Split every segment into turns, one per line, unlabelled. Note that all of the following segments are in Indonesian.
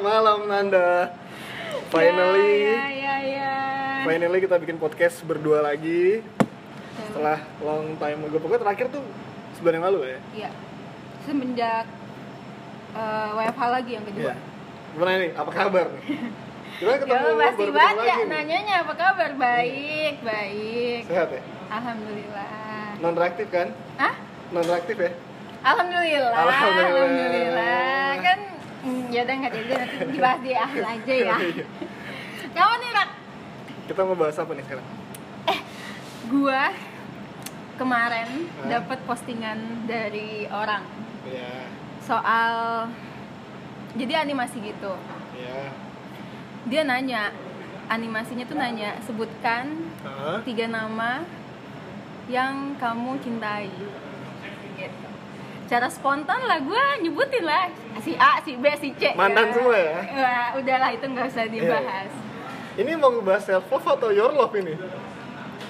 malam Nanda. Finally,
Ya, ya, ya, ya.
finally kita bikin podcast berdua lagi setelah long time ago. Pokoknya terakhir tuh sebulan yang lalu ya.
Iya. Semenjak eh, WFH lagi yang kedua.
Iya. Gimana nih? Apa kabar? nih? Kita
Ya,
ketemu baru
pasti
ketemu
banget ya.
lagi nih.
Nanyanya apa kabar? Baik, baik.
Sehat ya?
Alhamdulillah.
Non reaktif kan?
Hah?
Non reaktif ya?
Alhamdulillah.
Alhamdulillah.
Alhamdulillah. Kan mm, ya udah nggak jadi nanti dibahas di akhir aja ya.
Iya.
Kamu nih Rak,
kita mau bahas apa nih sekarang?
gua kemarin
Hah?
dapat postingan dari orang
Iya.
soal jadi animasi gitu.
Iya.
dia nanya animasinya tuh nanya sebutkan
Hah?
tiga nama yang kamu cintai gitu cara spontan lah gue nyebutin lah si A si B si C
Mantan semua ya? Iya.
Wah, udahlah itu nggak usah dibahas
Ini mau bahas self love atau your love ini?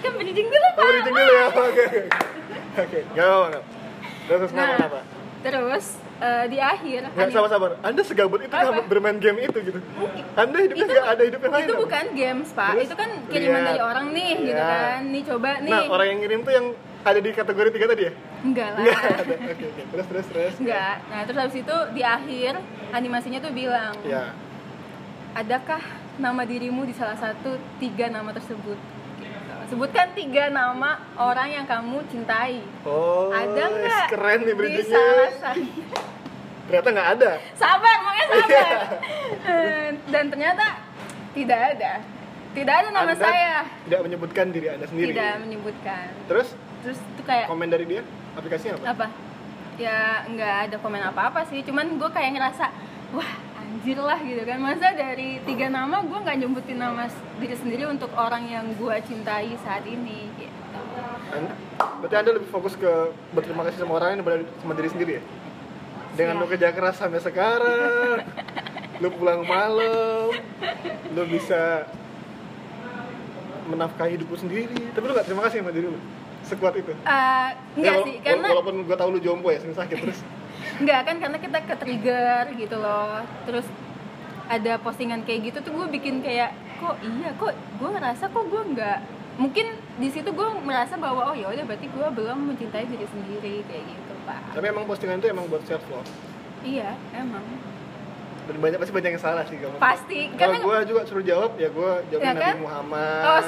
kan bridging dulu
Oh,
Pak. Nah,
reading dulu ya. Oke. oke. Oke, enggak apa-apa. Terus kenapa?
nah
kenapa?
terus eh, di akhir
Nggak
anim-
sabar-sabar. Anda segabut itu
Apa?
sama bermain game itu gitu. Anda hidupnya
Itu
nggak
bu-
ada hidup yang lain.
itu
dong?
bukan games pak
Terus
itu kan kiriman
lihat.
dari orang nih gitu
Iya.
kan nih coba nih
Nah, orang yang ngirim tuh yang ada di kategori tiga tadi ya?
enggak lah
Nggak ada. Oke, oke. Terus terus terus.
Enggak. Nah, terus habis itu di akhir animasinya tuh bilang,
Ya.
"Adakah nama dirimu di salah satu tiga nama tersebut?" Gitu. Sebutkan tiga nama orang yang kamu cintai.
Oh,
ada
yes,
nggak?
keren nih
di
bridgingnya.
salah satu?
Ternyata nggak ada.
Sabar, makanya
Iya.
sabar. Eh, Dan ternyata tidak ada. Tidak ada
Anda
nama saya.
Tidak menyebutkan diri Anda sendiri.
Tidak menyebutkan.
Terus
Terus itu kayak
komen dari dia aplikasinya apa?
apa ya nggak ada komen apa-apa sih cuman gue kayak ngerasa wah anjir lah gitu kan masa dari tiga nama gue nggak nyebutin nama s- diri sendiri untuk orang yang gue cintai saat ini gitu.
Anda- Berarti Anda lebih fokus ke berterima kasih sama orang yang daripada sama diri sendiri ya? Dengan lu
Siap.
kerja keras sampai sekarang, lu pulang malam, lu bisa menafkahi hidup lu sendiri. Tapi lu gak terima kasih sama diri lu sekuat itu.
Eh,
Ya,
enggak
wala-
sih karena
wala- walaupun gua tahu lu jompo ya, sering sakit terus.
enggak kan karena kita ke trigger gitu loh terus ada postingan kayak gitu tuh gue bikin kayak kok iya kok gue ngerasa kok gue nggak mungkin di situ gue merasa bahwa oh ya udah berarti gue belum mencintai diri sendiri kayak gitu pak
Tapi emang postingan itu emang buat self love.
iya emang
Dan banyak pasti banyak yang salah sih kamu.
Pasti,
Kalau
karena-
gua juga suruh jawab, ya gua jawab
Ya
Nabi
kan?
Muhammad.
Oh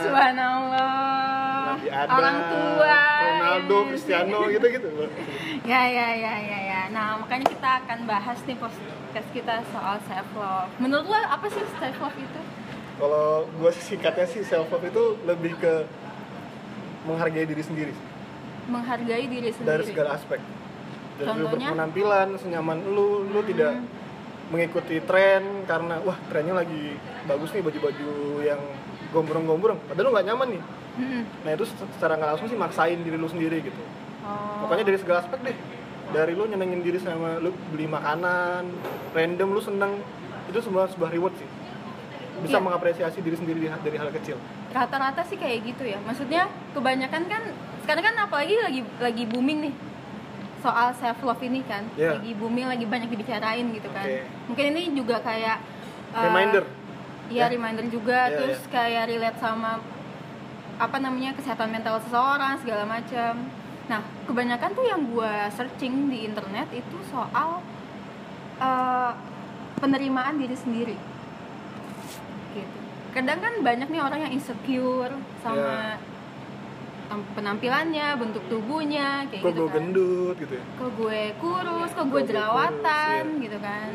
subhanallah.
Nabi Adam,
Orang tua. iya.
Ronaldo,
Ini.
Cristiano gitu-gitu.
Ya ya ya ya ya. Nah, makanya kita akan bahas nih podcast kita soal self love. Menurut lo apa sih self love itu?
Kalau gue singkatnya sih self love itu lebih ke menghargai diri sendiri sih,
Menghargai diri sendiri.
dari segala aspek. Dari lu
Contohnya? Hmm.
berpenampilan, senyaman lu, lu tidak mengikuti tren karena wah trennya lagi bagus nih baju-baju yang gombrong-gombrong. Padahal lu nggak nyaman nih.
Mm-mm.
Nah itu secara nggak langsung sih maksain diri lu sendiri gitu.
Oh.
Pokoknya dari segala aspek deh. Dari lu nyenengin diri sama lu beli makanan, random lu seneng, itu semua sebuah reward sih. Bisa
Iya.
mengapresiasi diri sendiri di- dari hal kecil.
rata-rata sih kayak gitu ya. Maksudnya kebanyakan kan sekarang kan apalagi lagi lagi booming nih soal self love ini kan.
Iya.
Lagi booming, lagi banyak dibicarain gitu kan.
Oke.
Mungkin ini juga kayak eh,
Reminder.
Iya
Ya.
reminder juga
Iya,
terus kayak relate sama apa namanya kesehatan mental seseorang segala macam. Nah kebanyakan tuh yang gue searching di internet itu soal eh, penerimaan diri sendiri. Gitu. Kadang kan banyak nih orang yang insecure sama
Iya.
tem- penampilannya, bentuk tubuhnya, kayak
Kok
gitu
gue
kan.
gendut gitu ya.
Kok gue kurus,
Kok
kok
iya. gue
gue jerawatan, gitu kan.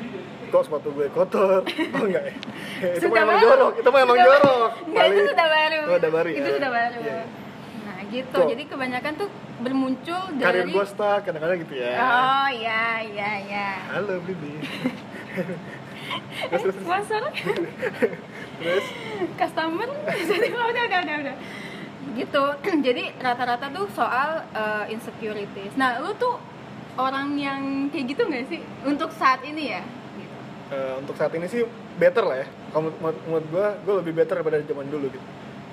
Kok sepatu gue kotor? Oh enggak ya? itu mah
Sudah
emang
baru.
jorok, itu mah emang
Sudah baru.
jorok.
Enggak, itu
Paling-
sudah baru.
Oh, udah baru ya.
Itu sudah baru.
Iya, iya.
Nah, gitu.
Tuh.
Jadi kebanyakan tuh bermuncul dari
Karir gue stuck, kadang-kadang gitu ya.
Oh, iya, iya, iya.
Halo Bibi.
Eh, sponsor.
Terus
customer. Jadi udah, udah, udah, udah. Gitu. Jadi rata-rata tuh soal eh, insecurities. Nah, lu tuh orang yang kayak gitu nggak sih untuk saat ini ya? Gitu.
Eh, untuk saat ini sih better lah ya kalau menurut, menurut gue gue lebih better daripada zaman dulu gitu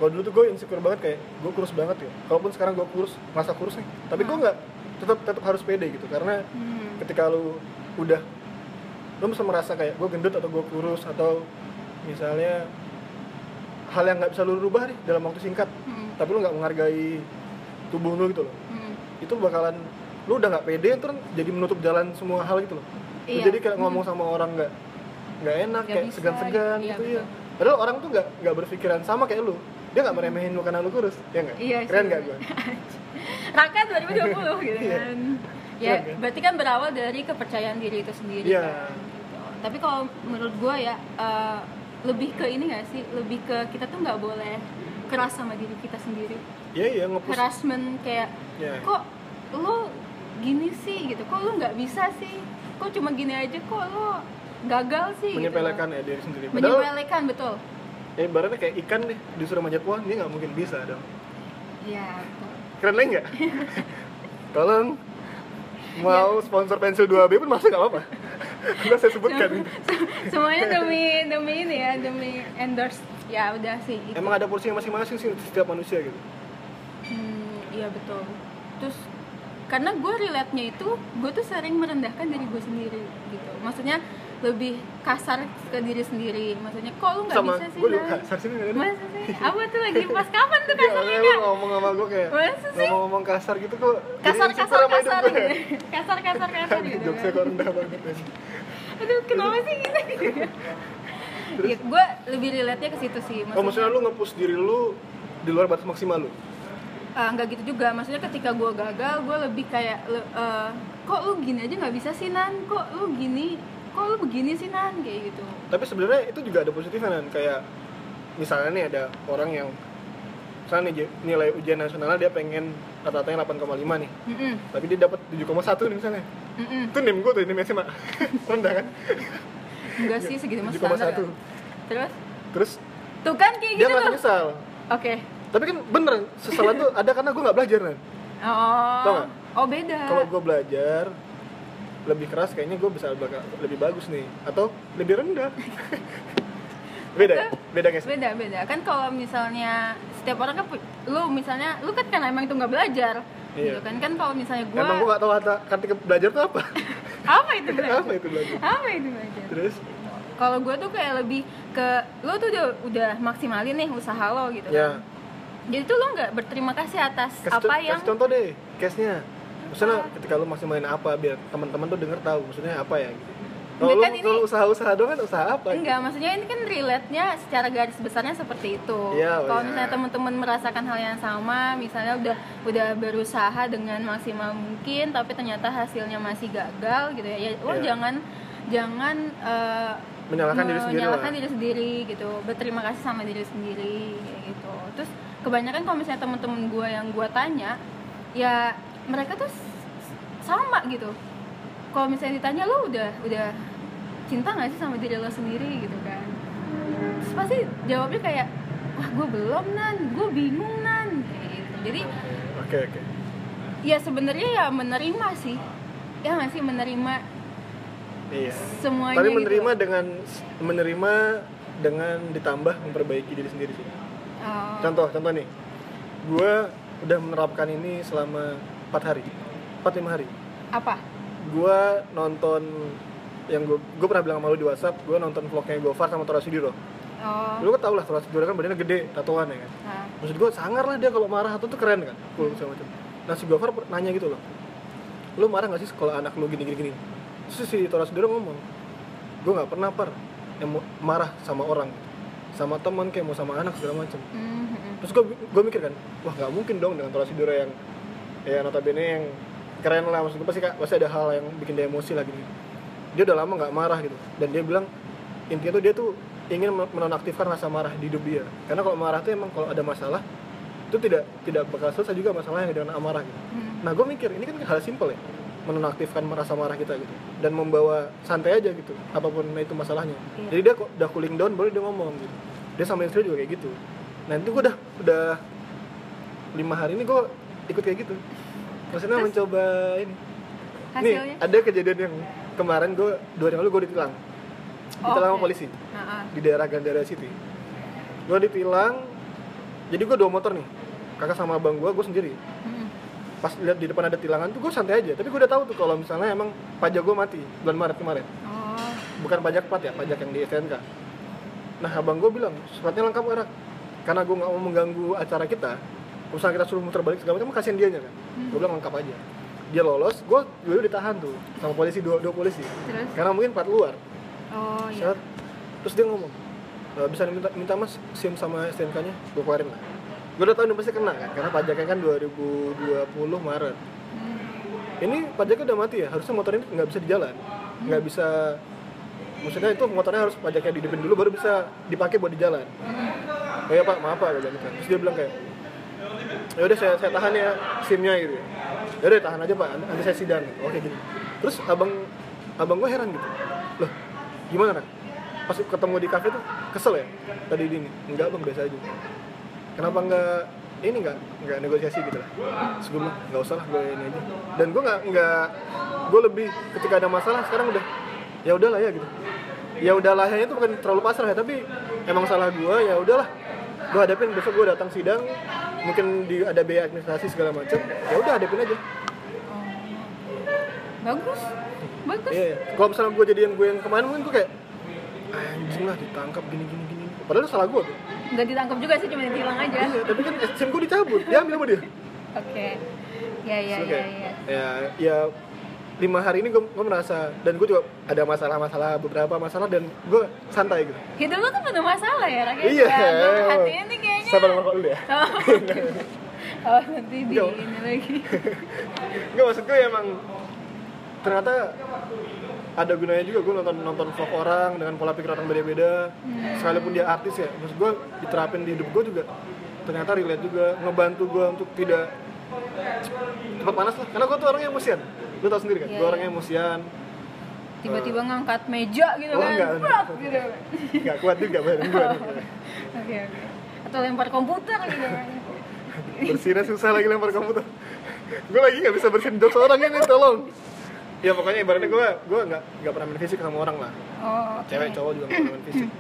kalau dulu tuh gue insecure banget kayak gue kurus banget ya kalaupun sekarang gue kurus masa kurus nih tapi gue nggak tetap tetap harus pede gitu karena
Hmm.
ketika lu udah lo bisa merasa kayak gue gendut atau gue kurus atau misalnya hal yang nggak bisa lo rubah nih dalam waktu singkat
Mm-mm.
tapi lo nggak menghargai tubuh lo gitu loh
Mm-mm.
itu bakalan lu udah nggak pede terus jadi menutup jalan semua hal gitu loh Lu
Iya.
jadi kayak ngomong sama orang nggak nggak enak
Nggak
kayak
bisa,
segan-segan
iya,
gitu ya
betul.
padahal orang tuh nggak nggak berpikiran sama kayak lu dia nggak meremehin lu karena lu kurus ya nggak
Iya sih.
keren nggak gue
Raka 2020 gitu
Iya.
kan. Ya,
Keren kan?
berarti kan berawal dari kepercayaan diri itu sendiri
Iya.
kan. Gitu. Tapi kalau menurut gue ya eh, lebih ke ini gak sih? Lebih ke kita tuh nggak boleh keras sama diri kita sendiri.
iya iya ngepus
Harassment kayak
Iya.
kok lu gini sih gitu. Kok lu nggak bisa sih? Kok cuma gini aja kok lu gagal sih gitu.
menyepelekan ya diri sendiri padahal
Menyepelekan betul.
ya, ibaratnya kayak ikan deh disuruh manjat pohon dia nggak mungkin bisa dong
Iya, betul.
keren lagi nggak tolong mau
Ya.
sponsor pensil 2B pun masih nggak apa-apa nggak saya sebutkan
Semuanya demi demi ini ya, demi endorse. Ya udah sih. itu.
emang ada porsinya masing-masing sih setiap manusia gitu
Hmm, iya betul. Terus karena gue relate-nya itu, gue tuh sering merendahkan diri gue sendiri gitu. Maksudnya lebih kasar ke diri sendiri. Maksudnya kok lu nggak
sama
bisa sih?
gue juga
Nay?
kasar sih nggak ada.
Masa sih? Apa tuh lagi pas kapan tuh
Ya,
kasarnya?
makanya lu ngomong sama gue kayak
Masa sih?
ngomong-ngomong kasar gitu kok jadi
Kasar
insecure
kasar
sama hidup
kasar
gue.
gitu. Kasar kasar kasar
Aduh,
gitu.
Jokesnya
kan.
kok rendah banget ya. aja.
Aduh, kenapa sih gitu? ya, gue lebih relate-nya ke situ sih.
Oh maksudnya lu nge-push diri lu di luar batas maksimal lu?
Eh, nggak gitu juga maksudnya ketika gue gagal gue lebih kayak le- eh, kok lu gini aja nggak bisa sih nan kok lu gini kok lu begini sih nan kayak gitu
Tapi sebenarnya itu juga ada positifnya kan kayak misalnya nih ada orang yang misalnya nih nilai ujian nasionalnya dia pengen rata-ratanya 8,5 nih
Mm-mm,
tapi dia dapat 7,1 nih misalnya
mm-mm.
itu nim gue tuh nim SMA rendah kan
enggak
Iya,
sih segitu mas
7,1
standar ya. terus
terus
tuh kan kayak
dia
gitu
nggak
tuh oke
menyesal tapi kan bener sesalan tuh ada karena gue nggak belajar kan Tau
oh
nggak?
oh beda
kalau gue belajar lebih keras kayaknya gue bisa baka- lebih bagus nih atau lebih rendah beda ya? beda guys
beda beda kan kalau misalnya setiap orang kan pu- lu misalnya lu kan kan emang itu nggak belajar
Iya.
gitu kan kan kalau misalnya gue
emang gue gak tahu kata kata ke- belajar tuh apa
apa itu belajar
apa itu belajar
apa itu belajar
terus
kalau gue tuh kayak lebih ke lo tuh udah udah maksimalin nih usaha lo gitu
ya
jadi tuh lo nggak berterima kasih atas
kasih,
apa
co-
yang
kasih contoh deh case nya maksudnya ketika lu masih main apa biar teman-teman tuh denger tahu maksudnya apa ya gitu. kalau lu
Kan ini-
kalau usaha-usaha doang kan usaha apa
enggak maksudnya ini kan relate nya secara garis besarnya seperti itu
Iya,
kalau
iya.
misalnya teman-teman merasakan hal yang sama misalnya udah udah berusaha dengan maksimal mungkin tapi ternyata hasilnya masih gagal gitu ya ya lo
Iya.
jangan jangan eh,
Menyalahkan diri sendiri
menyalahkan
lah.
diri sendiri gitu berterima kasih sama diri sendiri kayak gitu terus kebanyakan kalau misalnya temen-temen gue yang gue tanya ya mereka tuh s- s- sama gitu kalau misalnya ditanya lo udah udah cinta nggak sih sama diri lo sendiri gitu kan terus pasti jawabnya kayak wah gue belum nan gue bingung nan kayak gitu jadi
oke oke
ya sebenarnya ya menerima sih ya nggak sih menerima
iya
semuanya
tapi
gitu.
menerima dengan menerima dengan ditambah memperbaiki diri sendiri sih
Oh,
contoh contoh nih gue udah menerapkan ini selama 4 hari 4 5 hari
apa
gue nonton yang gue gue pernah bilang sama lu di WhatsApp gue nonton vlognya Gofar sama Tora Sudiro
oh
lu kan tau lah Tora Sudiro kan badannya gede tatoan ya kan
nah.
maksud gue sangar lah dia kalau marah atau tuh keren kan cool segala macam nah si Gofar per- nanya gitu loh lu marah gak sih kalau anak lu gini gini gini terus si Tora Sudiro ngomong gue nggak pernah par yang mau- marah sama orang sama teman kayak mau sama anak segala macam
Hmm, hmm, hmm.
terus gue gue mikir kan wah nggak mungkin dong dengan Tora Sudiro yang ya notabene yang keren lah maksud gue pasti ka- pasti ada hal yang bikin dia emosi lah gitu dia udah lama nggak marah gitu dan dia bilang intinya tuh dia tuh ingin men- menonaktifkan rasa marah di hidup dia karena kalau marah tuh emang kalau ada masalah itu tidak tidak bakal selesai juga masalahnya dengan amarah gitu
Hmm.
nah gue mikir ini kan hal simpel ya menonaktifkan rasa marah kita gitu dan membawa santai aja gitu apapun itu masalahnya
Iya.
jadi dia kok udah cooling down baru dia ngomong gitu dia sama istri juga kayak gitu nah itu gue udah udah lima hari ini gue ikut kayak gitu maksudnya mencoba ini
hasilnya
nih ada kejadian yang kemarin gue dua hari yang lalu gue ditilang ditilang sama
Oke.
polisi
Nah, ah.
di daerah Gandara City gue ditilang jadi gue dua motor nih kakak sama abang gue gue sendiri
Hmm.
pas lihat di depan ada tilangan tuh gue santai aja tapi gue udah tahu tuh kalau misalnya emang pajak gue mati bulan Maret kemarin
oh
bukan pajak plat ya pajak yang di STNK nah abang gue bilang suratnya lengkap enak karena gue nggak mau mengganggu acara kita usaha kita suruh muter balik segala macam kasihan dianya kan gue bilang lengkap aja dia lolos gue dulu ditahan tuh sama polisi dua, dua polisi
Terus?
karena mungkin plat luar
Oh iya.
Set. Terus dia ngomong, e, bisa minta, minta mas SIM sama STNK-nya, gue keluarin lah. Gue udah tau ini pasti kena kan, karena pajaknya kan 2020 Maret.
Hmm.
Ini pajaknya udah mati ya, harusnya motor ini nggak bisa di jalan, nggak
Hmm.
bisa maksudnya itu motornya harus pajaknya di depan dulu baru bisa dipakai buat di jalan.
Hmm.
Oh iya pak, maaf pak, gue bilang gitu. Terus dia bilang kayak, ya udah saya, saya tahan ya SIM-nya gitu ya. Ya udah tahan aja pak, nanti saya sidang. Oke gitu. Terus abang abang gue heran gitu. Loh, gimana kan? Pas ketemu di kafe tuh kesel ya tadi ini. Enggak bang biasa aja. Kenapa enggak ini enggak enggak negosiasi gitu lah. Sebelum enggak usah lah gue ini aja. Dan gue enggak enggak gue lebih ketika ada masalah sekarang udah ya udahlah ya gitu. Ya udahlah ya itu bukan terlalu pasrah ya tapi emang salah gue ya udahlah gue hadapin besok gue datang sidang mungkin di ada biaya administrasi segala macam ya udah hadapin aja
Oh. Bagus. Bagus.
Iya, iya. kalau misalnya gue jadian gue yang kemarin mungkin gue kayak anjing lah ditangkap gini gini gini. Padahal itu salah gue tuh.
Nggak ditangkap juga sih, cuma ditilang aja.
Iya, tapi kan SIM gue dicabut, diambil sama dia.
Oke. Ya ya
Terus
ya
kayak,
ya.
Ya, ya lima hari ini gue, gue merasa dan gue juga ada masalah-masalah beberapa masalah dan gue santai gitu.
Hidup lo tuh penuh masalah ya, Rakyat.
Iya.
Gue perhatiin nih kayaknya.
Sabar merokok dulu ya.
oh, nanti di
Yo.
ini lagi.
Enggak maksud gue emang ternyata ada gunanya juga gue nonton nonton vlog orang dengan pola pikir orang beda-beda
Hmm.
sekalipun dia artis ya maksud gue diterapin di hidup gue juga ternyata relate juga ngebantu gue untuk tidak cepat panas lah karena gue tuh orangnya emosian gue tau sendiri kan
Iya,
gue
iya.
orangnya emosian
Tiba-tiba ngangkat meja gitu
Oh,
kan.
enggak, enggak.
Prap, gitu.
nggak kuat juga badan gue
Oke, oke. Atau lempar komputer gitu kan.
bersihinnya susah lagi lempar komputer gue lagi nggak bisa bersihin jokes orang ini tolong ya pokoknya ibaratnya gue gue nggak nggak pernah main fisik sama orang lah
Oh, oke.
cewek cowok juga nggak pernah main fisik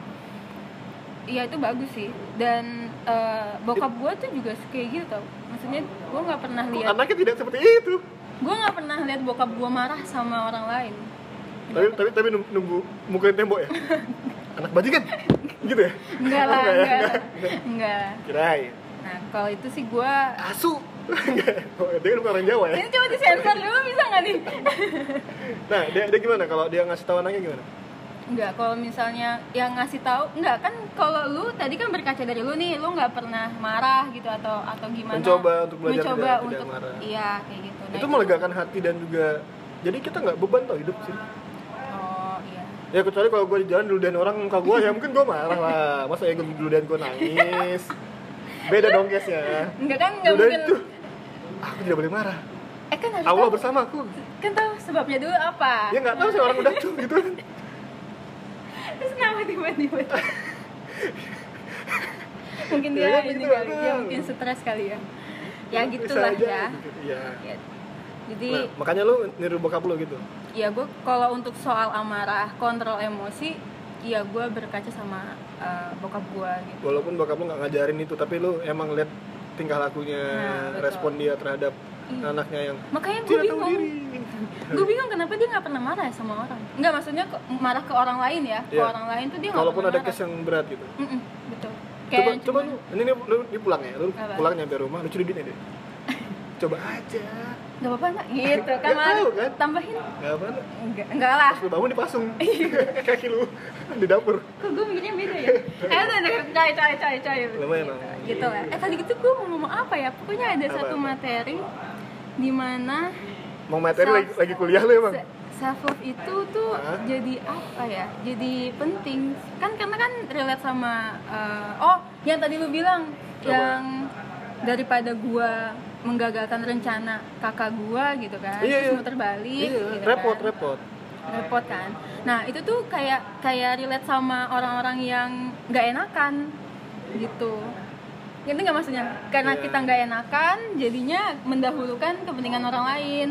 Iya itu bagus sih dan eh, bokap gue tuh juga kayak gitu tau maksudnya gue nggak pernah
Kok
lihat
anaknya tidak seperti itu
gue nggak pernah lihat bokap gue marah sama orang lain
tapi tapi tapi nung- nunggu mukulin tembok ya anak bajingan gitu ya
enggak lah
Oh, enggak ya?
enggak lah. enggak lah.
kirain
nah kalau itu sih gue
asu Enggak. Oh, dia kan bukan orang Jawa ya
ini coba disensor dulu bisa nggak nih
nah dia, dia gimana kalau dia ngasih tahu anaknya gimana
enggak kalau misalnya yang ngasih tahu enggak kan kalau lu tadi kan berkaca dari lu nih lu nggak pernah marah gitu atau atau gimana
Mencoba untuk belajar
mencoba
tidak- tidak
untuk
marah.
iya kayak gitu Nah,
itu melegakan hati dan juga jadi kita nggak beban tau hidup sih
oh iya
ya kecuali kalau gue di jalan duludain orang muka gue ya mungkin gue marah lah masa ya gue duludain gue nangis beda dong case-nya
enggak kan enggak
duludain
mungkin
tuh aku tidak boleh marah
eh kan harus
Allah
tahu-
bersamaku
kan tahu sebabnya dulu apa Nah,
ya nggak tahu sih orang udah tuh gitu kan
terus kenapa tiba-tiba mungkin
Ya
dia
kan
ini
gitu,
kali dia
aduh.
mungkin stres kali ya ya
Bisa
gitulah
aja,
ya
gitu. Iya.
Ya. jadi
Nah, makanya lu niru bokap lu gitu
ya gue kalau untuk soal amarah kontrol emosi ya gue berkaca sama eh, bokap gue gitu
walaupun bokap lu nggak ngajarin itu tapi lu emang lihat tingkah lakunya
Nah, betul.
respon dia terhadap
Iya.
anaknya yang
makanya gue
tidak tahu
bingung
diri
gue bingung kenapa dia nggak pernah marah ya sama orang nggak maksudnya ke- marah ke orang lain ya ke
Iya.
orang lain tuh dia nggak
kalaupun
pernah
ada
marah.
case yang berat gitu
Mm-mm, betul
coba
Kayak
coba
cuman-
lu ini nih, lu di pulang ya lu
Apa?
pulang nyampe rumah lu curi duit ya deh coba aja
nggak apa-apa nggak gitu kan
Nggak Iya, tahu,
Mar.
kan?
tambahin
nggak apa
enggak enggak lah
pas lu bangun dipasung
Iya.
kaki lu di dapur
kok gue mikirnya beda ya eh udah udah coy coy coy coy
Lumayan lah.
gitu lah eh tadi gitu gue mau ngomong apa ya pokoknya ada
Apa,
satu
apa?
materi di mana
mau materi
Self-
lagi, lagi kuliah lu emang
self love itu tuh
Hah?
jadi apa ya jadi penting kan karena kan relate sama eh, oh yang tadi lu bilang
Apa?
yang daripada gua menggagalkan rencana kakak gua gitu kan
Iya,
terus
iya.
muter balik
iya
gitu
repot
kan
repot
repot kan nah itu tuh kayak kayak relate sama orang-orang yang nggak enakan gitu itu nggak maksudnya karena
Iya.
kita nggak enakan jadinya mendahulukan kepentingan orang lain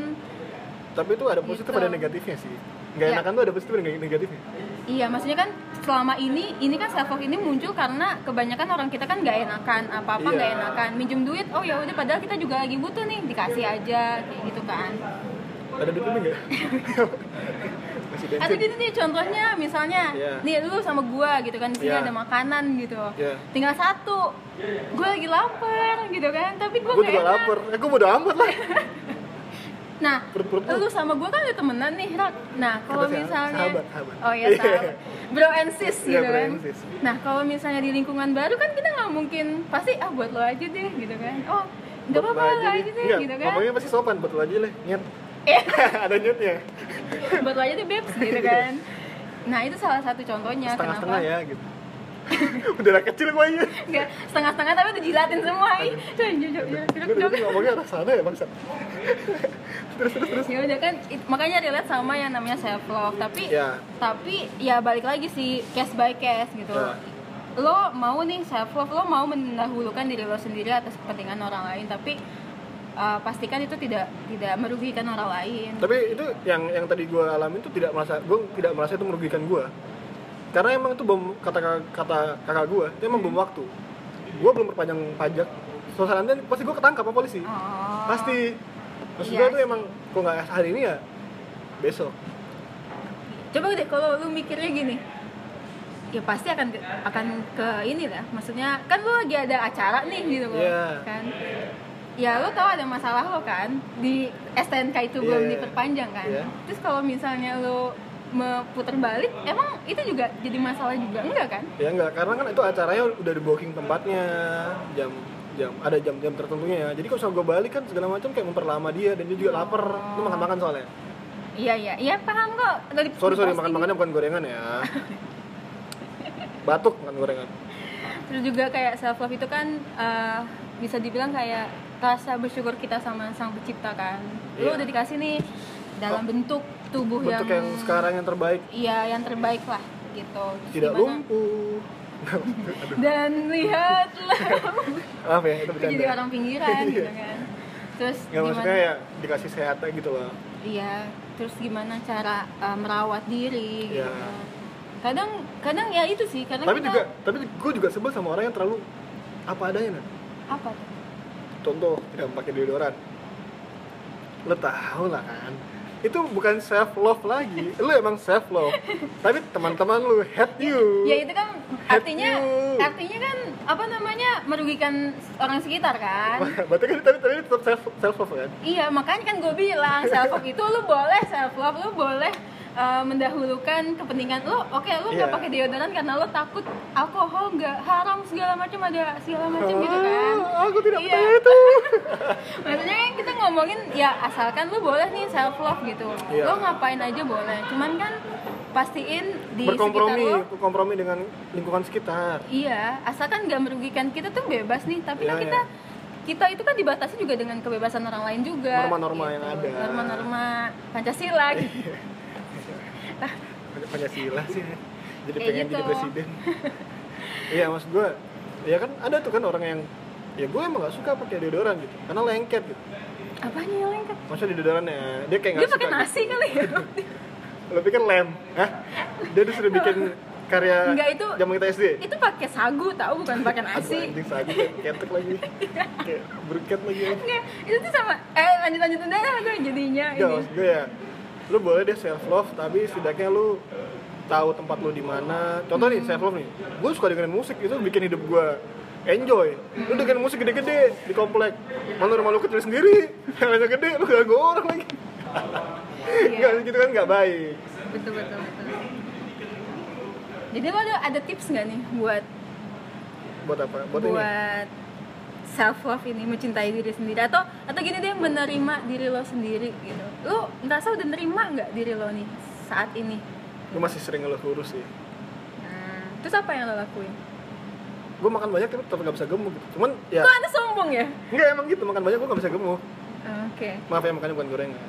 tapi itu ada positif
Gitu.
ada negatifnya sih nggak
Ya.
enakan tuh ada positif dan negatifnya
iya maksudnya kan selama ini ini kan self love ini muncul karena kebanyakan orang kita kan nggak enakan apa apa
Iya.
nggak enakan minjem duit oh ya udah padahal kita juga lagi butuh nih dikasih aja kayak gitu kan
ada duit ini nggak masih
atau
dancing
gitu nih contohnya misalnya
Iya.
nih lu sama gua gitu kan di sini
Iya.
ada makanan gitu
Iya.
tinggal satu gua lagi lapar gitu kan tapi gua
gue
gak
juga
enak.
lapar eh gue udah amat lah
nah
Perut-perut
lu sama gua kan udah temenan nih Rod nah kalau
Kata sah-
misalnya
sahabat, sahabat.
oh iya sahabat bro and sis
Iya,
gitu
bro
kan
and sis.
nah kalau misalnya di lingkungan baru kan kita nggak mungkin pasti ah buat lo aja deh gitu kan oh nggak
Buat
apa-apa
lo
lo aja deh
Enggak,
gitu kan
ngomongnya pasti sopan buat lo aja lah nyet
Eh.
ada nyetnya
buat lo aja deh babes gitu kan nah itu salah satu contohnya
Iya. setengah-setengah
kenapa
ya gitu udah lah kecil gue ya
Enggak, setengah-setengah tapi udah jilatin semua ih. Cuy, jujur, jujur,
gue
jujur.
tadi ngomongnya arah sana ya bangsa
Ya udah kan, it- makanya relate sama yang namanya self love Tapi,
Ya.
tapi ya balik lagi sih, case by case gitu
Ya.
Lo mau nih self love, lo mau mendahulukan diri lo sendiri atas kepentingan orang lain Tapi uh, pastikan itu tidak tidak merugikan orang lain
tapi itu yang yang tadi gue alamin tuh tidak merasa gue tidak merasa itu merugikan gue karena emang itu bom kata kata kakak gue itu emang bom waktu gue belum perpanjang pajak soalnya nanti pasti gue ketangkap sama polisi
Oh.
pasti maksud
Iya
gue tuh
sih.
emang kok nggak hari ini ya besok
Coba deh kalau lu mikirnya gini ya pasti akan ke, akan ke ini lah maksudnya kan lu lagi ada acara nih gitu loh
Iya.
kan ya lu tahu ada masalah lo kan di STNK itu belum
Iya.
diperpanjang kan
Iya.
terus kalau misalnya lu meputar balik emang itu juga jadi masalah juga enggak kan
ya enggak karena kan itu acaranya udah di booking tempatnya jam jam ada jam-jam tertentunya ya jadi kalau misalnya gue balik kan segala macam kayak memperlama dia dan dia juga lapar itu makan makan soalnya
iya iya iya paham kok dari
sorry sorry
pasti.
makan makannya bukan gorengan ya batuk bukan gorengan
terus juga kayak self love itu kan eh, bisa dibilang kayak rasa bersyukur kita sama sang pencipta kan lu
Iya. Oh,
udah dikasih nih dalam bentuk tubuh
bentuk yang sekarang yang terbaik
Iya, yang terbaik lah gitu. Terus
tidak
gimana?
lumpuh
Dan lihatlah
maaf ya itu
jadi
bercanda Iya.
orang pinggiran gitu kan. Terus
nggak maksudnya
gimana?
ya dikasih sehat aja gitu loh
Iya, terus gimana cara uh, merawat diri gitu
Iya.
kan. Kadang kadang ya itu sih, kadang
tapi
kita
juga tapi gue juga sebel sama orang yang terlalu apa adanya Nat.
apa tuh?
contoh tidak pakai deodoran lo tau lah kan itu bukan self love lagi lo emang self love tapi teman-teman lu hate you
Ya itu kan artinya
you.
artinya kan apa namanya merugikan orang sekitar kan.
berarti kan tapi tapi tetap self self love kan
Iya, makanya kan gue bilang self love itu lu boleh self love, lu boleh uh, mendahulukan kepentingan lu. Oke, lu nggak
Iya.
pakai deodoran karena lu takut alkohol nggak haram segala macam ada segala macam gitu kan.
Ah, aku tidak
Iya.
percaya itu
Maksudnya kan kita ngomongin ya asalkan lu boleh nih self love gitu.
Iya.
Lu ngapain aja boleh. Cuman kan pastiin di
berkompromi
sekitar lu
kompromi dengan lingkungan sekitar
Iya, asalkan nggak merugikan kita tuh bebas nih. Tapi kan
Iya,
kita
iya.
kita itu kan dibatasi juga dengan kebebasan orang lain juga. Gitu.
Norma-norma yang ada.
Norma-norma Pancasila. gitu.
Banyak Pancasila sih jadi
Kayak
pengen
gitu.
jadi presiden iya maksud gue ya kan ada tuh kan orang yang ya gue emang gak suka pakai deodoran gitu karena lengket gitu
Apanya yang lengkap?
maksudnya deodoran ya dia kayak
Dia
nggak
pakai
suka gitu.
nasi kali ya.
lo pikir kan lem Hah? dia udah sudah bikin karya
Enggak, itu-
zaman kita SD
itu pakai sagu tahu bukan pakai nasi.
Aduh, anjing sagu kayak ketek lagi
Iya.
kayak berket lagi
Enggak, itu tuh sama eh lanjut lanjut udah dah, gue jadinya
enggak
ini.
maksud gue ya lo boleh deh self love tapi setidaknya lo tahu tempat lo di mana contoh
Hmm.
nih self love nih gue suka dengerin musik itu bikin hidup gue enjoy lu dengerin musik gede-gede di komplek mana rumah lu kecil sendiri yang gede lu gak orang lagi
Iya,
Enggak, gitu kan nggak baik
betul betul betul. Jadi lo ada, ada tips nggak nih buat
buat apa buat,
buat,
ini
self love ini mencintai diri sendiri atau atau gini deh menerima diri lo sendiri gitu lo merasa udah nerima nggak diri lo nih saat ini
gue masih sering ngeluh kurus sih Hmm.
nah, terus apa yang lo lakuin
gue makan banyak tapi tetap gak bisa gemuk gitu. cuman ya
kok anda sombong ya
Enggak emang gitu, makan banyak gue gak bisa gemuk
oke
Maaf ya, makannya bukan gorengan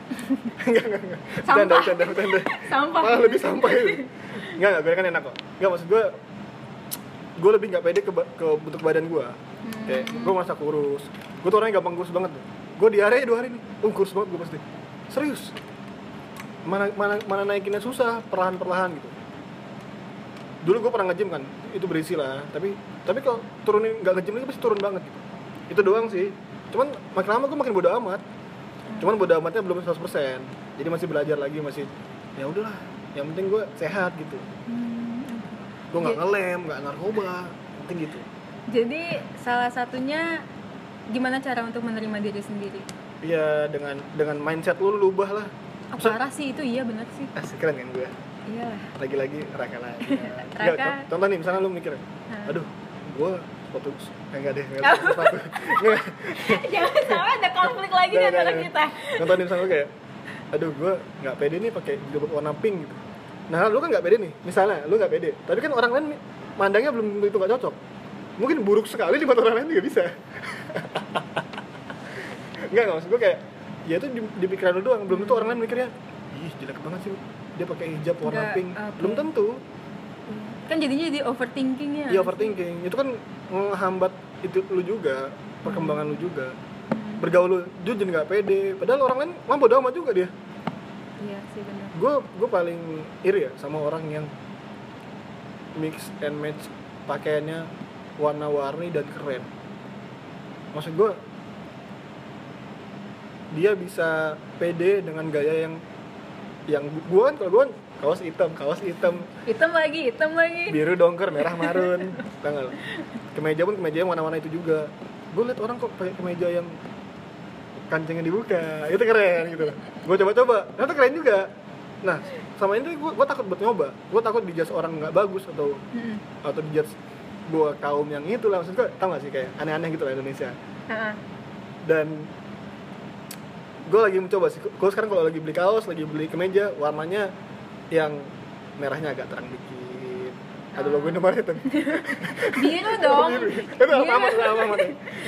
Enggak, enggak, enggak Bercanda,
Sampah.
bercanda, bercanda
sampah
Malah lebih sampah itu Enggak, enggak, gorengan enak kok Enggak, maksud gue Gue lebih gak pede ke, ba- ke bentuk badan gue Kayak, gue merasa kurus Gue tuh orangnya gampang kurus banget tuh Gue diare dua hari nih Oh, kurus banget gue pasti Serius Mana, mana, mana naikinnya susah, perlahan-perlahan gitu Dulu gue pernah nge-gym kan, itu berisi lah Tapi, tapi kalau turunin, gak nge-gym lagi pasti turun banget gitu itu doang sih cuman makin lama gue makin bodo amat cuman bodo amatnya belum 100% jadi masih belajar lagi masih ya udahlah yang penting gue sehat gitu
Hmm, oke.
gue nggak
Iya.
ngelem nggak narkoba yang penting gitu
Jadi salah satunya gimana cara untuk menerima diri sendiri?
ya dengan dengan mindset lu lu ubah lah
Apa
Maksud-
parah sih itu iya benar sih.
Asik, keren kan gue
Iya. lah.
lagi-lagi raka lagi
Raka.
Nggak, con- contoh nih misalnya lu mikir
Nah.
aduh gue sepatu eh, enggak deh enggak
Oh.
deh, sepatu Nggak.
Jangan sampai ada konflik lagi di
Nggak,
antara
nggak, nggak.
kita.
contoh nih misalnya gue kayak aduh gue nggak pede nih pakai jilbab warna pink gitu nah lu kan nggak pede nih misalnya lu nggak pede tapi kan orang lain mandangnya belum tentu itu nggak cocok mungkin buruk sekali di mata orang lain juga bisa nggak nggak maksud gue kayak ya itu di, di pikiran lu doang belum tentu orang lain mikirnya ih jelek banget sih dia pakai hijab warna
Nggak,
pink
oke.
belum tentu
Kan jadinya jadi overthinking ya.
ya overthinking itu kan menghambat itu lu juga perkembangan lu juga bergaul lu jujur nggak pede padahal orang lain mampu doang juga dia
Iya sih benar.
gue gue paling iri ya sama orang yang mix and match pakaiannya warna-warni dan keren maksud gue dia bisa pede dengan gaya yang yang gue kan kalau gue kan kaos hitam kaos hitam
Hitam lagi, hitam lagi.
biru dongker merah marun tanggal kemeja pun kemeja yang warna-warna itu juga gue liat orang kok pakai kemeja yang kancingnya dibuka itu keren gitu gue coba-coba ternyata keren juga nah sama ini gue gue takut buat nyoba gue takut dijas orang nggak bagus atau
Mm-mm.
atau dijas gue kaum yang itu lah maksud gue tau gak sih kayak aneh-aneh gitu lah Indonesia
Ha-ha.
dan gue lagi mencoba sih gue sekarang kalau lagi beli kaos lagi beli kemeja warnanya yang merahnya agak terang dikit ada logo Indomaret tuh
Biru dong.
Iya, itu apa amat itu apa amat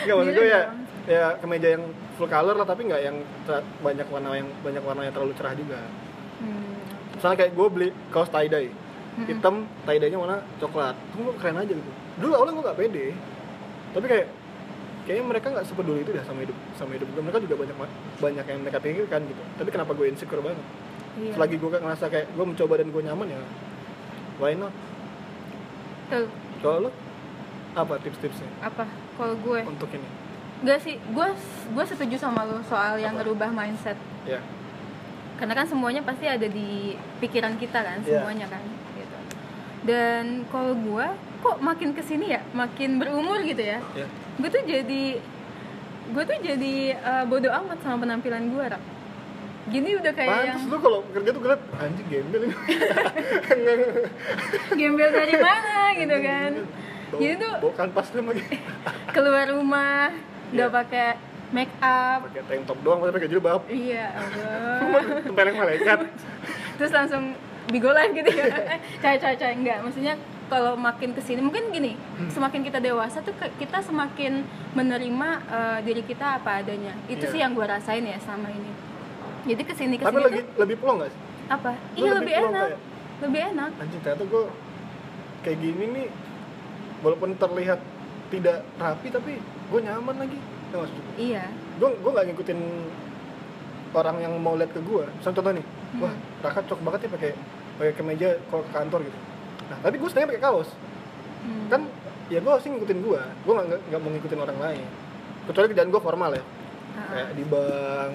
nggak maksud
Biru
gue ya
dong.
ya kemeja yang full color lah tapi nggak yang ter- banyak warna yang banyak warna yang terlalu cerah juga
Hmm.
misalnya kayak gue beli kaos tie dye
Mm-mm.
hitam tie dye nya warna coklat tuh keren aja gitu dulu awalnya gue nggak pede tapi kayak kayaknya mereka nggak sepeduli itu dah sama hidup sama hidup gue mereka juga banyak ma- banyak yang mereka pikirkan gitu tapi kenapa gue insecure banget
Iya.
selagi gue nggak ngerasa kayak gue mencoba dan gue nyaman ya why not
Tuh,
kalau lo apa tips-tipsnya
apa kalau gue
untuk ini
Gak sih, gue gue setuju sama lo soal yang
Apa?
ngerubah mindset.
ya
Karena kan semuanya pasti ada di pikiran kita kan,
Iya.
semuanya kan. Gitu. Dan kalau gue, kok makin kesini ya, makin berumur gitu ya.
ya
Gue tuh jadi gue tuh jadi eh, bodo amat sama penampilan gue, Rak. Gini udah kayak yang
Pantes lu kalau kerja tuh ngeliat anjing gembel ini.
gembel dari mana gitu kan. Jadi tuh
Bawa kanvas lu lagi.
keluar rumah nggak
Iya.
pakai make up.
Pakai tank top doang, pakai jilbab.
Iya, Allah.
Tempeleng malaikat.
terus langsung bigo live gitu ya Eh, cai cai cai enggak maksudnya kalau makin kesini mungkin gini
Hmm.
semakin kita dewasa tuh ke- kita semakin menerima eh, diri kita apa adanya itu
Iya.
sih yang gue rasain ya sama ini jadi kesini
Tapi
kesini
lagi
tuh
lebih plong gak sih?
apa
lu
iya
lebih ya?
lebih
plong
enak
kayak?
lebih enak
Anjing ternyata gue kayak gini nih walaupun terlihat tidak rapi tapi gue nyaman lagi. Tau gak maksud gue?
iya
Gue gue gak ngikutin orang yang mau lihat ke gue. Misal contoh nih,
Hmm.
wah Raka cocok banget nih pakai pakai kemeja kalau ke kantor gitu. Nah, tapi gue sebenarnya pakai kaos.
Hmm.
kan ya gue harusnya ngikutin gue gue nggak nggak- nggak mau ngikutin orang lain kecuali kerjaan gue formal ya
Ah.
kayak di bank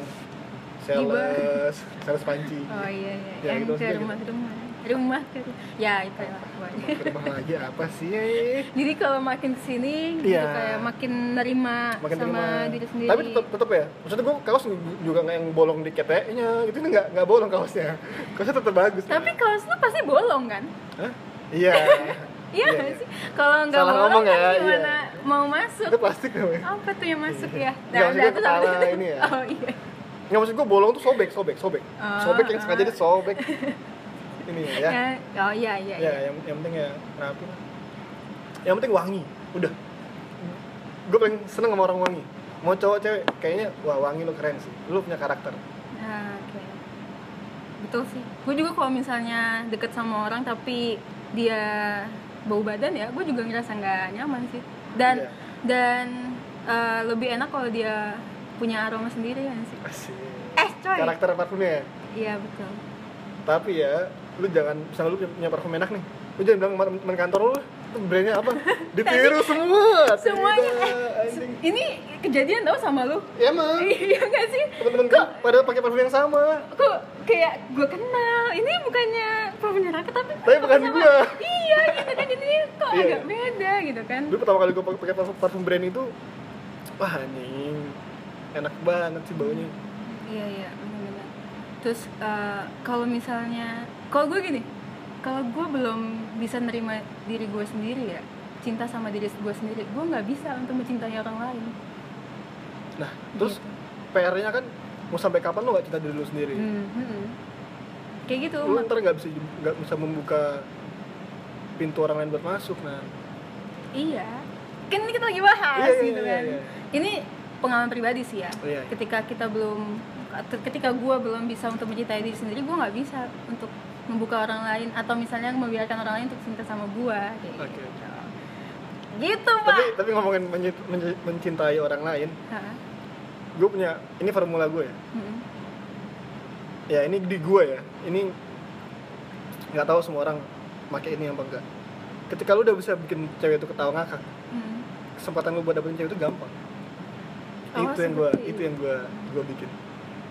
sales sales panci
oh iya iya
Ya,
yang
gitu
ke
maksudnya
rumah rumah rumah ke ya itu lah pokoknya.
Makin rumah lagi apa sih ya?
jadi kalau makin kesini gitu
Iya.
kayak makin nerima
makin
sama
terima.
diri sendiri
tapi tetap tetap ya maksudnya gue kaos juga nggak yang bolong di KTE nya itu nggak nggak bolong kaosnya kaosnya tetap bagus
tapi
lah.
kaos lu pasti bolong kan
Hah? iya
Iya
Iya,
nggak
iya.
sih? Kalau nggak
Salah
bolong
ngomong
kan
ya,
gimana
iya.
mau masuk?
itu plastik namanya
Apa tuh yang masuk
Iya.
ya?
Nggak, maksudnya
itu
kepala
sampai-
ini ya.
Oh iya.
nggak maksud gue bolong tuh sobek sobek sobek
Oh,
sobek yang
ah.
sengaja disobek ini ya
Ya. Oh iya
ya
iya. iya.
yang, yang penting ya rapi lah yang penting wangi udah gue paling seneng sama orang wangi mau cowok cewek kayaknya wah wangi lu keren sih lu punya karakter
Nah, oke. Betul sih. Gue juga kalau misalnya deket sama orang tapi dia bau badan ya, gue juga ngerasa nggak nyaman sih. Dan
Iya.
dan eh, lebih enak kalau dia punya aroma sendiri kan sih.
Asik.
Eh coy.
karakter parfumnya ya
Iya betul.
tapi ya lu jangan misalnya lu punya- punya parfum enak nih lu jangan bilang teman- teman kantor lu "Itu brandnya apa ditiru semua
Semuanya,
Tidak,
Se-
anjing.
Ini kejadian tau sama lu?
ya emang
Iya nggak sih?
teman-teman kan pada pakai parfum yang sama
Kok kayak gue kenal ini bukannya profesional Neraka tapi
Tapi bukan
sama-
gua.
iya gitu kan ini kok
Iya,
agak
iya.
beda gitu kan
dulu pertama kali gue pakai parfum, parfum brand itu wah anjing enak banget sih baunya
iya iya benar-benar terus eh, kalau misalnya kalau gue gini kalau gue belum bisa nerima diri gue sendiri ya cinta sama diri gue sendiri gue nggak bisa untuk mencintai orang lain
Iya. nah terus PR-nya kan mau sampai kapan lo gak cinta diri lo sendiri
Hmm, hmm. kayak gitu
lu
mak-
ntar nggak bisa nggak bisa membuka pintu orang lain buat masuk nah
Iya. Kan ini kita lagi bahas
Iya, iya,
gitu
iya,
kan.
iya.
Ini pengalaman pribadi sih ya.
Iya, iya.
Ketika kita belum ketika gue belum bisa untuk mencintai diri sendiri, gue nggak bisa untuk membuka orang lain atau misalnya membiarkan orang lain untuk cinta sama gue.
oke
Gitu,
tapi
Pak.
tapi ngomongin menyi- menyi- mencintai orang lain
Hah? Hmm.
gue punya ini formula gue ya
Mm-mm.
ya ini di gue ya ini nggak tahu semua orang pakai ini apa enggak ketika lu udah bisa bikin cewek itu ketawa ngakak
Mm.
kesempatan lu buat dapetin cewek itu gampang
Oh,
itu yang gue
seperti
itu yang gue gue bikin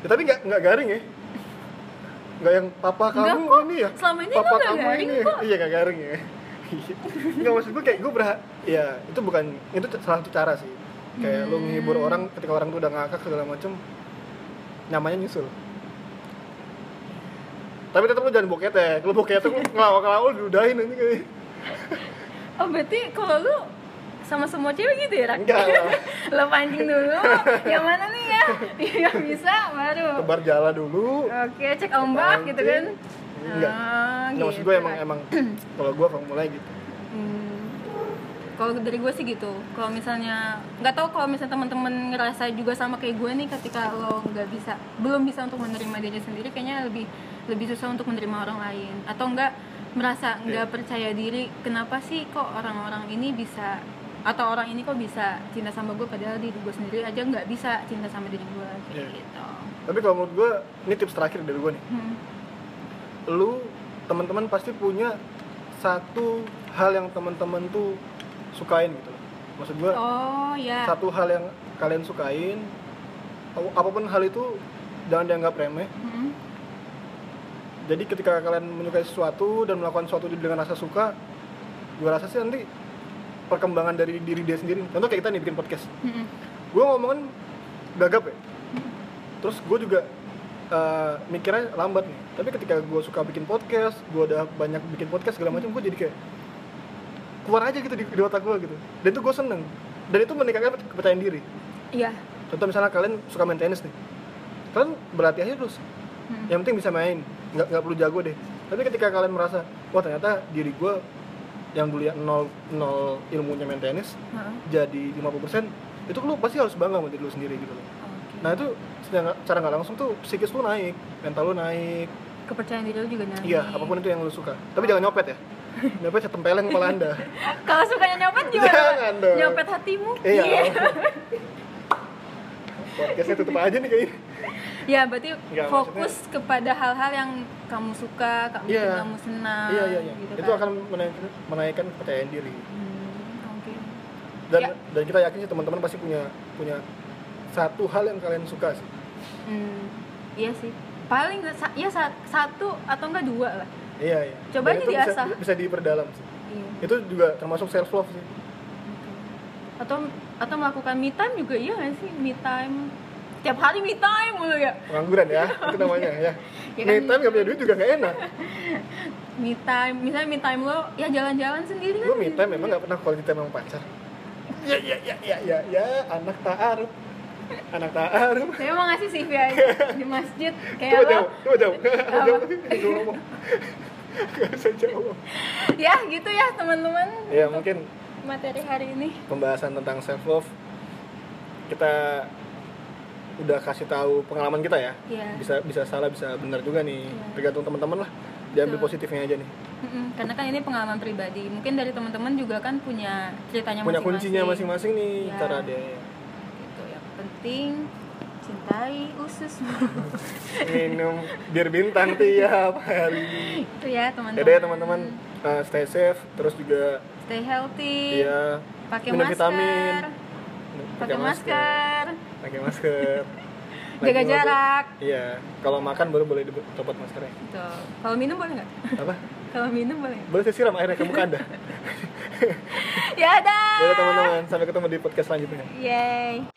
ya, tapi nggak nggak garing ya nggak yang papa
Nggak
kamu
kok.
ini ya
Selama ini
papa
gua nggak
kamu
garing
ini ya.
kok.
iya nggak garing ya nggak maksud gue kayak gue berhak ya itu bukan itu salah satu cara sih kayak lu menghibur
Hmm.
orang ketika orang tuh udah ngakak segala macem namanya nyusul tapi tetap lu jangan boketek lu boketek lu ngelawak ngelawak lu diludahin nanti kayak
Oh, berarti kalau lu sama semua cewek gitu ya, Rak?
enggak lah.
Lo pancing dulu, yang mana nih ya? Yang bisa baru.
tebar jala dulu
Oke, cek ombak gitu kan.
Enggak.
Ah,
Nah, maksud
gitu,
gue emang
Kak.
emang kalau gue mulai gitu.
Hmm. Kalau dari gue sih gitu. Kalau misalnya nggak tahu kalau misalnya teman-teman ngerasa juga sama kayak gue nih ketika lo nggak bisa belum bisa untuk menerima diri sendiri kayaknya lebih lebih susah untuk menerima orang lain atau enggak merasa
Iya.
nggak percaya diri kenapa sih kok orang-orang ini bisa atau orang ini kok bisa cinta sama gue padahal diri gue sendiri aja nggak bisa cinta sama diri gue kayak
Iya.
gitu.
Tapi kalau menurut gue, ini tips terakhir dari gue nih.
Hmm.
Lu teman-teman pasti punya satu hal yang teman-teman tuh sukain gitu. loh. Maksud gue
Oh ya.
satu hal yang kalian sukain ap- apapun hal itu jangan dianggap remeh.
Hmm.
Jadi ketika kalian menyukai sesuatu dan melakukan sesuatu dengan rasa suka, gue rasa sih nanti perkembangan dari diri dia sendiri. Contoh kayak kita nih bikin podcast.
Hmm.
gue ngomongin gagap ya terus gue juga eh, mikirnya lambat nih tapi ketika gue suka bikin podcast gue udah banyak bikin podcast segala macam gue jadi kayak keluar aja gitu di, di otak gue gitu dan itu gue seneng dan itu meningkatkan kepercayaan diri
Iya.
contoh misalnya kalian suka main tenis nih kalian berlatih aja terus
Hmm.
yang penting bisa main nggak nggak perlu jago deh tapi ketika kalian merasa wah ternyata diri gue yang dulu ya nol nol ilmunya main tenis
Heeh.
jadi 50% itu lu pasti harus bangga sama diri lu sendiri gitu loh
Oke.
nah itu secara cara nggak langsung tuh psikis lu naik mental lu naik
kepercayaan diri lu juga naik
iya apapun itu yang lu suka tapi jangan nyopet ya nyopet saya tempelin kepala anda
kalau sukanya nyopet gimana
Jangan dong.
nyopet hatimu
iya podcastnya tutup aja nih kayaknya
ya berarti
Nggak,
fokus kepada hal-hal yang kamu suka kamu
Iya.
kamu senang
iya iya iya
gitu
itu
kan.
akan menaikkan, menaikkan kepercayaan diri
Hmm, oke
dan
Ya.
dan kita yakin sih teman-teman pasti punya punya satu hal yang kalian suka sih
Hmm, iya sih paling sa- ya sa- satu atau enggak dua lah
iya iya Dan
Coba aja
itu bisa,
diasah.
bisa diperdalam sih
iya
itu juga termasuk self love sih
atau atau melakukan me time juga iya nggak sih me time tiap hari me time mulu ya
pengangguran ya itu namanya ya,
Ya
ya
kan?
nggak punya duit juga nggak enak
me time misalnya me time lo ya jalan-jalan sendiri kan
gue me time ya? memang nggak pernah quality time sama pacar ya ya ya ya ya ya anak taaruf anak taaruf
saya mau ngasih CV aja di masjid kayak
coba
lo
jauh coba jauh
Apa?
jauh gue ngomong nggak bisa jauh
ya gitu ya teman-teman
ya
untuk
mungkin
materi hari ini
pembahasan tentang self love kita udah kasih tahu pengalaman kita ya
Iya.
bisa bisa salah bisa benar juga nih
Iya.
tergantung teman-teman lah diambil
Betul.
positifnya aja nih
Mm-mm, karena kan ini pengalaman pribadi mungkin dari teman-teman juga kan punya ceritanya
punya
masing-masing
kuncinya masing-masing nih
Iya.
cara dia
gitu yang penting cintai ususmu
minum bir bintang tiap hari.
itu ya teman-teman
Yaudah ya teman-teman, uh, stay safe, terus juga
stay healthy
ya
pakai
minum
masker
vitamin,
pakai masker
pakai masker. Lagi
Jaga
ngobrol.
jarak.
Iya. Kalau makan baru boleh dicopot maskernya.
Gitu. Kalau minum boleh nggak?
Apa?
Kalau minum boleh. nggak?
Boleh saya siram airnya ke muka Anda.
Ya dah. Ya,
Boleh teman-teman, sampai ketemu di podcast selanjutnya.
Yay.